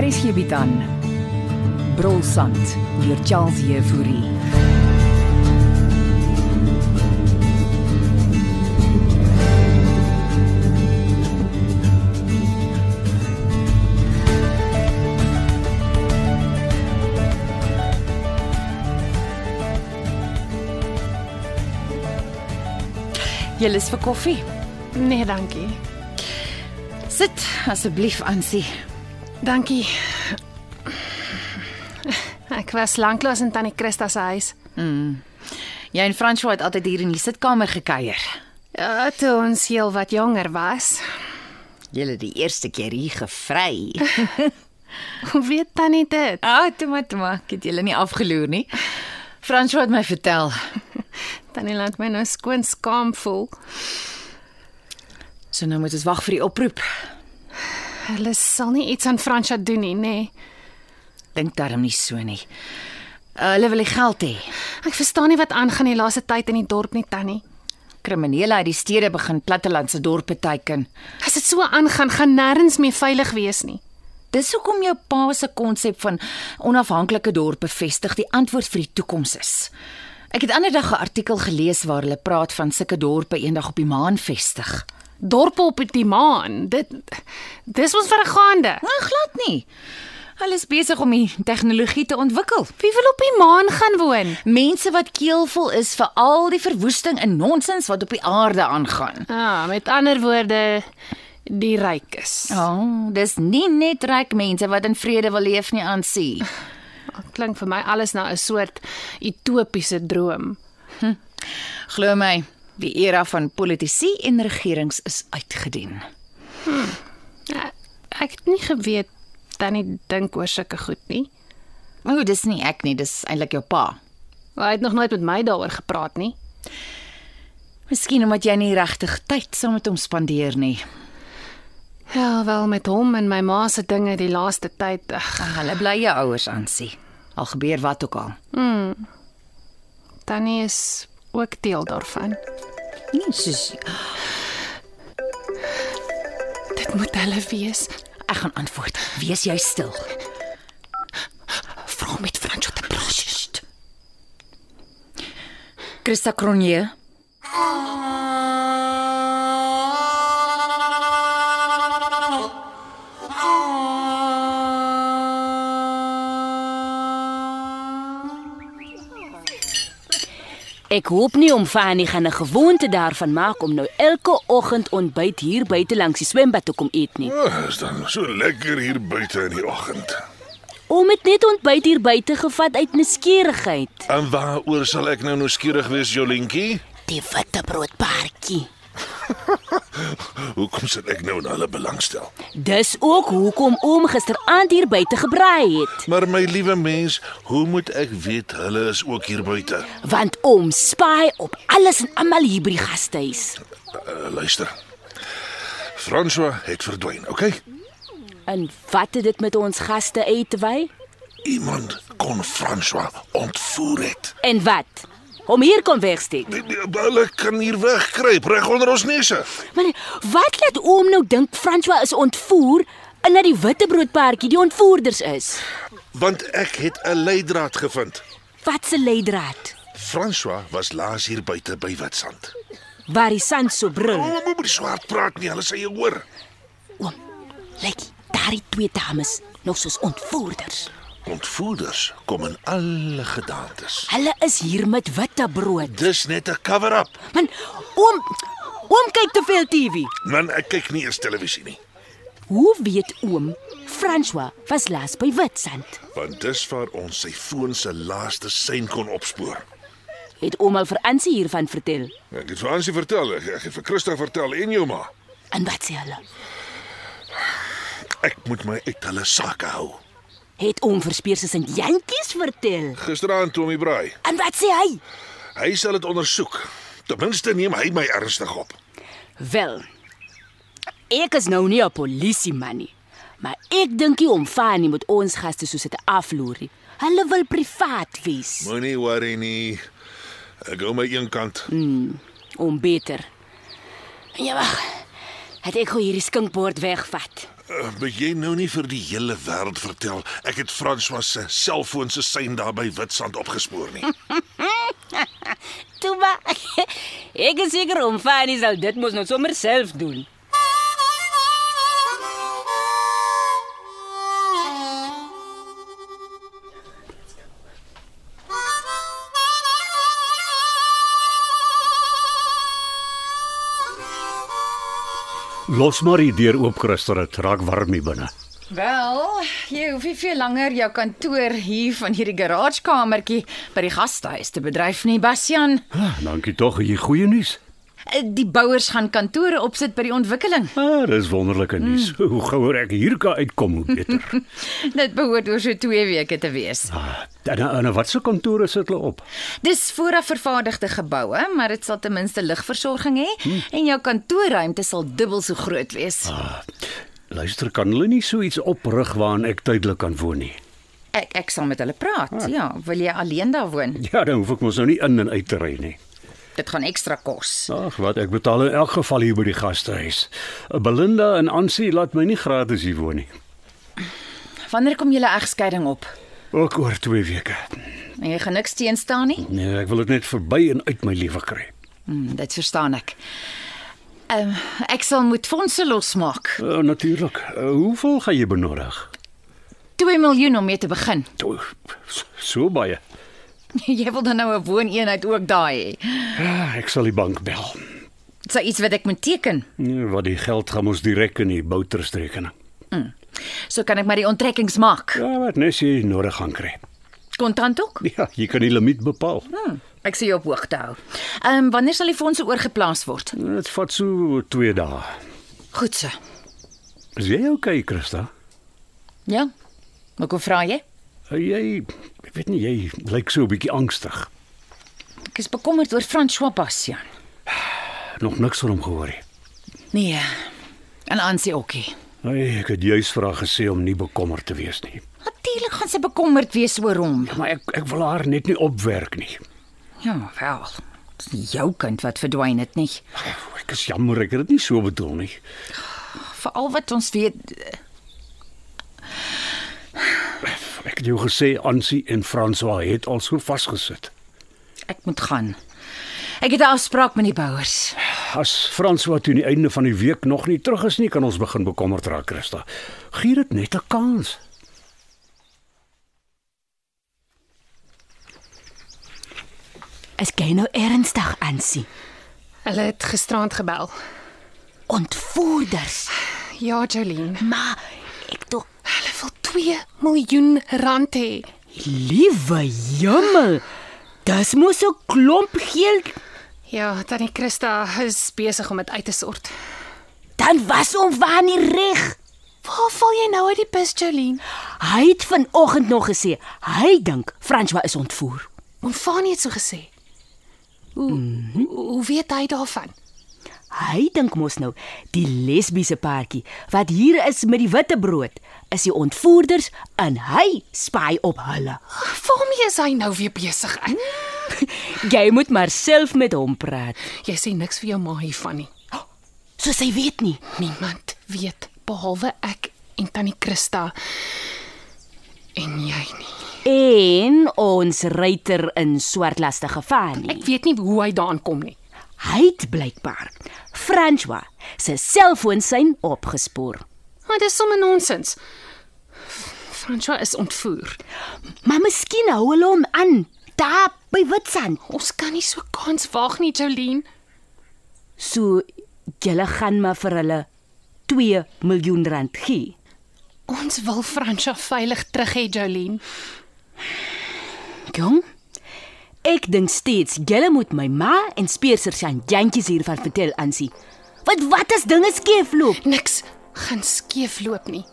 Hier is hierby dan. Brolsand deur Charles Euphorie. Jy is vir koffie. Nee, dankie. Sit asseblief aan sy. Dankie. Ek was lanklaas in tannie Christa se huis. Jy en François het altyd hier in die sitkamer gekuier. Ja, toe ons heel wat jonger was. Julle die eerste keer hier gevry. Hoe weet tannie dit? Ah, oh, toe maar toe maar, ek het julle nie afgeloer nie. François het my vertel. Tannie laat my nou skoon skaam voel. So nou moet ons wag vir die oproep. Hulle sal nie iets aan Fransja doen nie, nê? Nee. Dink darm nie so nie. Uh, hulle wil die geld hê. Ek verstaan nie wat aangaan die laaste tyd in die dorp nie, tannie. Kriminele uit die stede begin plattelandse dorpe teiken. As dit so aangaan, gaan nêrens meer veilig wees nie. Dis hoekom jou pa se konsep van onafhanklike dorpe vestig die antwoord vir die toekoms is. Ek het ander dag 'n artikel gelees waar hulle praat van sulke dorpe eendag op die maan vestig. Dorpe op die maan, dit dis ons vergaande. Nou glad nie. Hulle is besig om die tegnologie te ontwikkel. Wie wil op die maan gaan woon? Mense wat keelvol is vir al die verwoesting en nonsens wat op die aarde aangaan. Ah, met ander woorde die rykes. Ja, oh, dis nie net ryk mense wat in vrede wil leef nie aan sien. Klink vir my alles na 'n soort utopiese droom. Glo my, die era van politici en regerings is uitgedien. Ja, Ek het nie geweet tannie dink oor sulke goed nie. O, dis nie ek nie, dis eintlik jou pa. Hy het nog nooit met my daaroor gepraat nie. Miskien omdat jy nie regtig tyd saam met hom spandeer nie. Ja, wel met hom en my ma se dinge die laaste tyd. Ag, Ag, hulle bly jou ouers aan sien. Al gebeur wat ook al. tannie is ook deel daarvan. Nee, soos Dit moet hulle wees. ek gaan antwoord. Wees jy stil. Vra Nou met Fransjo te praat. Sst. Christa Cronje. Ek hoop nie om Fanny gaan 'n gewoonte daarvan maak om nou elke oggend ontbyt hier buite langs die swembad te kom eet nie. Oh, is dan so lekker hier buite in die oggend. Om dit net ontbyt hier buite gevat uit nuuskierigheid. En waaroor sal ek nou nuuskierig wees, Jolentjie? Die witbroodpaartjie. Hoekom sit ek nou in hulle belangstel? Dis ook hoekom oom gisteraand hier buite gebraai het, Maar my liewe mens, hoe moet ek weet hulle is ook hier buite? want oom spy op alles en almal hier by die gastehuis. Uh, luister. François het verdwyn, okay? En wat het dit met ons gaste uit te wy? Iemand kon François ontvoer het. En wat? Om hier kom wegsteek. Die- die- Hulle kan hier wegkruip reg onder ons neuse. Maar nee, wat laat oom nou dink François is ontvoer en dat die witbroodpaartjie die ontvoerders is? Want ek het 'n leidraad gevind. Wat se leidraad? François was laas hier buite by Witstrand. Waar die sand so brul. Oom, moenie swart praat nie, hulle sê jy hoor. Oom, lyk daai twee dames nog soos ontvoerders. Ontvoerders kom in alle gedaantes. Hulle is hier met witte brood. Dis net 'n cover-up. Man, oom, oom kyk te veel TV. Man, ek kyk nie eens televisie nie. Hoe weet oom François was laas by Witstrand? Want dis waar ons sy foon se laaste sein kon opspoor. Het oom al vir Ansie hiervan vertel? Ek het vir Ansie vertel, ek, ek het vir Christa vertel en jou ma. En wat sê hulle? Ek moet my uit hulle sakke hou. Het oom verspeers se jantjies vertel? Gisteraand Tommy Braai, En wat sê hy? hy sal dit ondersoek. Ten minste neem hy my ernstig op. Wel. Ek is nou nie 'n polisieman nie, Maar ek dink nie om Fanny met ons gaste soos dit afloer nie. Hulle wil privaat wees. Moenie worry nie. Ek hou my een kant. Om beter. Ja wag. Het ek gou hierdie skinkbord wegvat. Uh, Moet jy nou nie vir die hele wêreld vertel ek het François se selfoon se sein daar by Witstrand opgespoor nie. Toe maar. ek is seker om Fanny sal dit mos nou sommer self doen. Los maar die deur oop, Christel, dit raak warm hier binne. Wel, jy hoef nie veel langer jou kantoor hier van hierdie garagekamertjie by die gastehuis te bedryf nie, Bastian. Ah, dankie tog, hier goeie nuus. Eh, Die bouers gaan kantore opsit by die ontwikkeling. Ah, dis wonderlike nuus. Mm. Hoe gouer ek hier kan uitkom, hoe beter. Dit behoort oor so 2 weke te wees. ah, en en wat se kantore sit hulle op? Dis vooraf vervaardigde geboue, maar dit sal ten minste ligversorging hê en jou kantoorruimte sal dubbel so groot wees. Ah, luister, kan hulle nie so iets oprig waarin ek tydelik kan woon nie? Ek ek sal met hulle praat. Ja, wil jy alleen daar woon? Ja, dan hoef ek mos nou nie in en uit te ry nie. Dit gaan ekstra kos. Ag, wat ek betaal in elk geval hier by die gastehuis. Eh, Belinda en Ansie laat my nie gratis hier woon nie. Wanneer kom julle egskeiding op? Ook oor 2 weke. En jy gaan niks teenstaan nie? Nee, ek wil dit net verby en uit my lewe kry. Hm, dit verstaan ek. Ehm um, ek sal moet fondse losmaak. Uh, Natuurlik. Uh, hoeveel gaan jy benodig? 2 miljoen om mee te begin. O, so- So baie. jy wil dan nou 'n wooneenheid ook daai hê. Ah, Ek sal die bank bel. Dit is iets wat ek moet teken. Nee, Wat die geld gaan ons direk in die bouterstrekening. So kan ek maar die onttrekkings maak. Ja, wat nes jy nodig gaan kry. Kontant ook? Ja, jy kan die limiet bepaal. Hmm, ek sal jou op hoogte hou. Ehm um, wanneer sal die fondse oorgeplaas word? Dit vat so 2 dae. Goed so. Is jy okay, Christa? Ja. Maar kom vra jy? Jy ek weet nie jy lyk so 'n bietjie angstig. Ek is bekommerd oor François Bastian. Nog niks van hom gehoor nie. Nee. En Ansie ookie. Hey, ek het juis vir haar gesê om nie bekommerd te wees nie. Natuurlik gaan sy bekommerd wees oor hom. Maar ek ek wil haar net nie opwerk nie. Ja, wel. Dis nie jou kind wat verdwyn het nie. Ek is jammer ek het dit nie so bedoel nie. Veral wat ons weet Ek het jou gesê Ansie en François het al so vasgesit. ek moet gaan. Ek het 'n afspraak met die bouers. As François toe aan die einde van die week nog nie terug is nie, kan ons begin bekommerd raak, Christa. Gee dit net 'n kans. Is jy nou ernstig aansie? Hulle het gisterand gebel. Ontvoerders. Ja, Jolene. Maar ek tog Hulle wil 2 miljoen rand hê. liewe jemmel. Dis mos 'n klomp geld. Ja, tannie Christa is besig om dit uit te sort. Dan was hom van nie reg. Waar val jy nou uit die bus, Jolene? Hy het vanoggend nog gesê hy dink François is ontvoer. Onfanie het so gesê. Hoe hoe weet hy daarvan? Hy dink mos nou die lesbiese paartjie wat hier is met die witte brood is die ontvoerders en hy spy op hulle. Waarmee is hy nou weer besig? Ek, Jy moet maar self met hom praat. jy sê niks vir jou ma hiervan nie. So sy weet nie. Niemand weet behalwe ek en tannie Christa en jy nie. En ons ruiter in swartlastige van. Ek weet nie hoe hy daaraan kom nie. Hy het blykbaar François se selfoon syn opgespoor. Maar dis sommer nonsens. François is ontvoer. Maar miskien hou hulle hom aan daar by Witstrand. Ons kan nie so kans waag nie, Jolene. So julle gaan maar vir hulle 2 miljoen rand gee. Ons wil François veilig terug hê, Jolene. Jong. Ek dink steeds julle moet my ma en speerser Jan Jantjies hiervan vertel aansie. Wat wat as dinge skeefloop? Niks gaan skeefloop nie.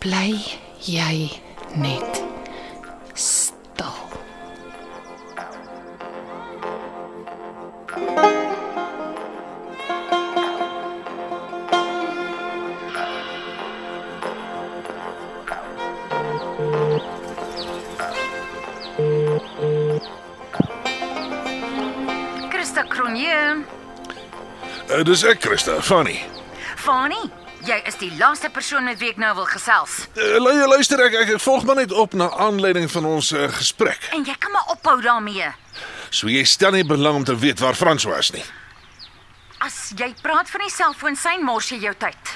Bly jy net stil. Uh, dis ek, Christa, Fanny. Fani, jy is die laaste persoon met wie ek nou wil gesels. Uh, lu- luister ek, ek ek volg maar net op na aanleiding van ons uh, gesprek. En jy kan maar ophou daarmee. So jy stel nie belang om te weet waar Frans was nie. As jy praat van die selfoon, syn mors jy jou tyd.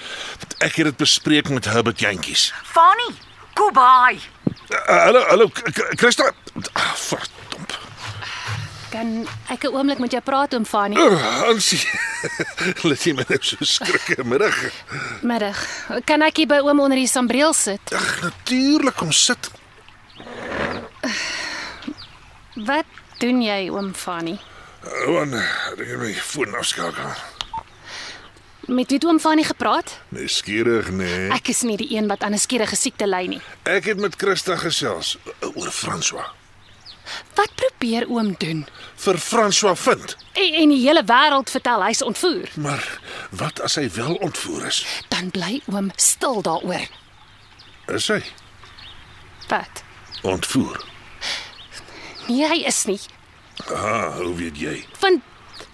Ek het dit bespreek met Herbert Jantjies. Fani, kubai. Uh, uh, Hallo, hallo, K- K- Christa. Ah, verdomp. Kan ek 'n oomblik met jou praat oom Fani? Uh, Ansie. Laat jy my nou so skrik in die middag. Middag. Kan ek hier by oom onder die sambreel sit? Ag, natuurlik kom sit. Wat doen jy oom Fani? Ouen, Oh, ek het my foon afskakel. Met wie het oom Fani gepraat? Nee, skierig nee. Ek is nie die een wat aan 'n skierige siekte ly nie. Ek het met Christa gesels eh, oor François. Wat probeer oom doen? Vir François vind. En, en die hele wêreld vertel hy's ontvoer. Maar wat as hy wel ontvoer is? Dan bly oom stil daaroor. Is hy Wat? ontvoer? Nee, hy is nie. Ah, hoe weet jy? Want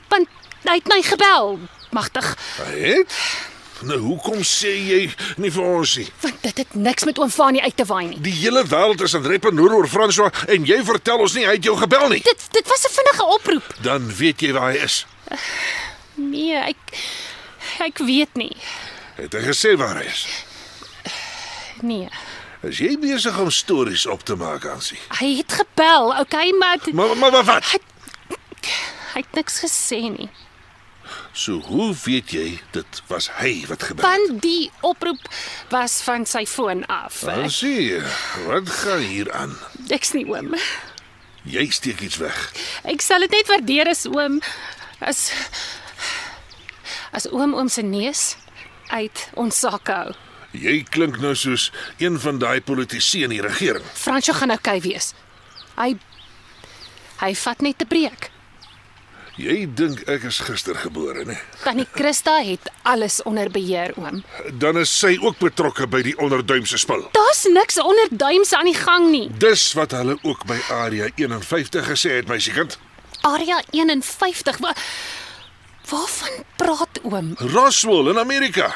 want hy het my gebel, magtig. Hy het? Nou hoekom sê jy nie vir ons nie? Want dit het niks met oom Fani uit te waai nie. Die hele wêreld is in rep en roer oor François en jy vertel ons nie hy het jou gebel nie. Dit dit was 'n vinnige oproep. Dan weet jy waar hy is. Nee, ek ek weet nie. Het hy gesê waar hy is? Nee. Is jy besig om stories op te maak, Ansie? Hy het gebel, okay, maar het- Maar maar maar wat? hy het niks gesê nie. So hoe weet jy dit was hy wat gebel het? Want die oproep was van sy foon af. Ek, Ansie, wat gaan hier aan? ek's nie oom. Jy steek iets weg. Ek sal dit net waardeer as oom as as oom oom se neus uit ons sakke hou. Jy klink nou soos een van daai politici in die regering. Fransjo gaan okay wees. Hy hy vat net 'n breek. Jy dink ek is gister gebore, né? Tannie Christa het alles onder beheer oom. Dan is sy ook betrokke by die onderduimse spil. Daar's niks onder duims aan die gang nie. Dis wat hulle ook by Area 51 gesê het, meisiekind. Area 51. Wa waarvan praat oom? Roswell in Amerika.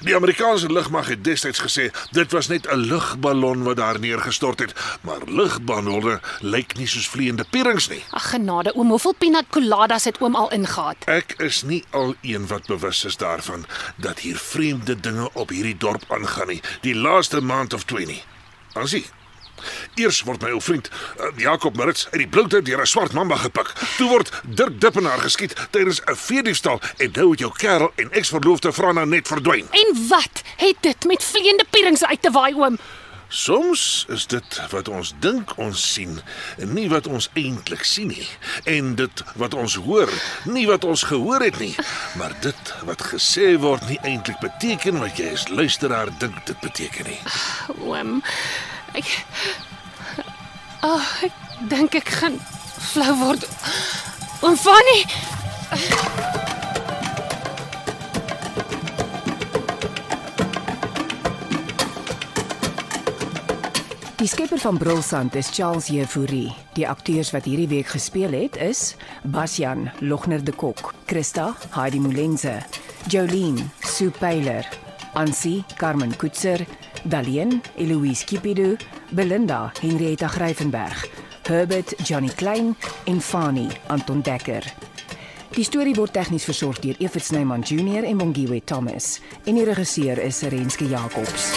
Die Amerikaanse lugmag het destyds gesê dit was net 'n lugballon wat daar neergestort het, maar lugballonne lyk nie soos vleiende pierings nie. Ag genade oom, hoeveel pina coladas het oom al ingehaat? Ek is nie al een wat bewus is daarvan dat hier vreemde dinge op hierdie dorp aangaan nie, die laaste maand of twee nie. Ansie. Eers word my ou vriend eh, Jakob Merits uit die bloute deur 'n swart mamba gepik. Toe word Dirk Dippenaar geskiet tydens 'n veediefstal en nou het jou kerel en eksverloofde Frana net verdwyn. En wat het dit met vleiende pierings uit te waai oom? Soms is dit wat ons dink ons sien, nie wat ons eintlik sien nie, en dit wat ons hoor, nie wat ons gehoor het nie, maar dit wat gesê word nie eintlik beteken wat jy as luisteraar dink dit beteken nie. Oom. Ek Oh, ek dink ek gaan flou word. Oom Fanny. Die skepper van Brulsand is Charles Jefouri. Die akteurs wat hierdie week gespeel het is Basjan Logner de Kok, Christa Heidi Molenze, Jolene Sue Pyler, Ansie Carmen Koetser, Dalien Eloise Kipido, Belinda Henrietta Gryvenberg, Herbert Johnny Klein en Fani Anton Dekker. Die storie word tegnies versorg deur Evert Snyman Junior en Bongwe Thomas en die regisseur is Renske Jacobs.